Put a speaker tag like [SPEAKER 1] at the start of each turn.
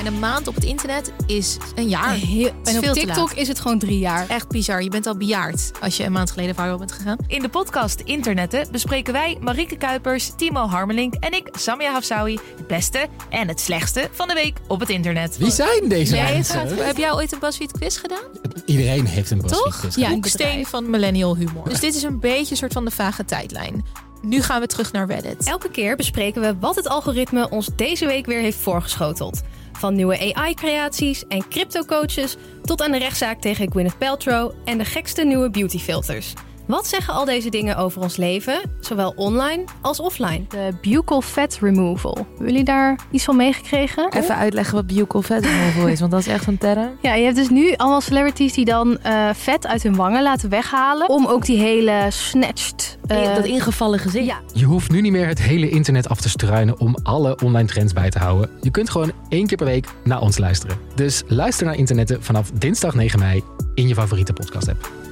[SPEAKER 1] En een maand op het internet is een jaar.
[SPEAKER 2] Heel-
[SPEAKER 1] Het is
[SPEAKER 2] en op
[SPEAKER 1] veel te
[SPEAKER 2] TikTok
[SPEAKER 1] laat.
[SPEAKER 2] is het gewoon drie jaar.
[SPEAKER 1] Echt bizar. Je bent al bejaard als je een maand geleden viral bent gegaan.
[SPEAKER 3] In de podcast Internetten bespreken wij, Marieke Kuipers, Timo Harmelink en ik, Samia Hafsawi, het beste en het slechtste van de week op het internet.
[SPEAKER 4] Wie zijn deze
[SPEAKER 1] Jij
[SPEAKER 4] mensen?
[SPEAKER 1] gaat- heb jij ooit een BuzzFeed quiz gedaan?
[SPEAKER 4] Iedereen heeft een
[SPEAKER 1] Toch?
[SPEAKER 4] BuzzFeed quiz.
[SPEAKER 2] Ja, een
[SPEAKER 1] Hoeksteen
[SPEAKER 2] bedrijf.
[SPEAKER 1] van millennial humor. Dus dit is een beetje een soort van de vage tijdlijn. Nu gaan we terug naar Reddit.
[SPEAKER 5] Elke keer bespreken we wat het algoritme ons deze week weer heeft voorgeschoteld. Van nieuwe AI-creaties en crypto-coaches tot aan de rechtszaak tegen Gwyneth Paltrow en de gekste nieuwe beautyfilters. Wat zeggen al deze dingen over ons leven, zowel online als offline?
[SPEAKER 6] De buccal fat removal. Hebben jullie daar iets van meegekregen?
[SPEAKER 7] Even uitleggen wat buccal fat removal is, want dat is echt een term.
[SPEAKER 6] Ja, je hebt dus nu allemaal celebrities die dan eh, vet uit hun wangen laten weghalen. Om ook die hele snatched... eh,
[SPEAKER 7] dat ingevallen gezicht.
[SPEAKER 6] ja,
[SPEAKER 4] Je hoeft nu niet meer het hele internet af te struinen om alle online trends bij te houden. Je kunt gewoon één keer per week naar ons luisteren. Dus luister naar internetten vanaf dinsdag 9 mei in je favoriete podcast app.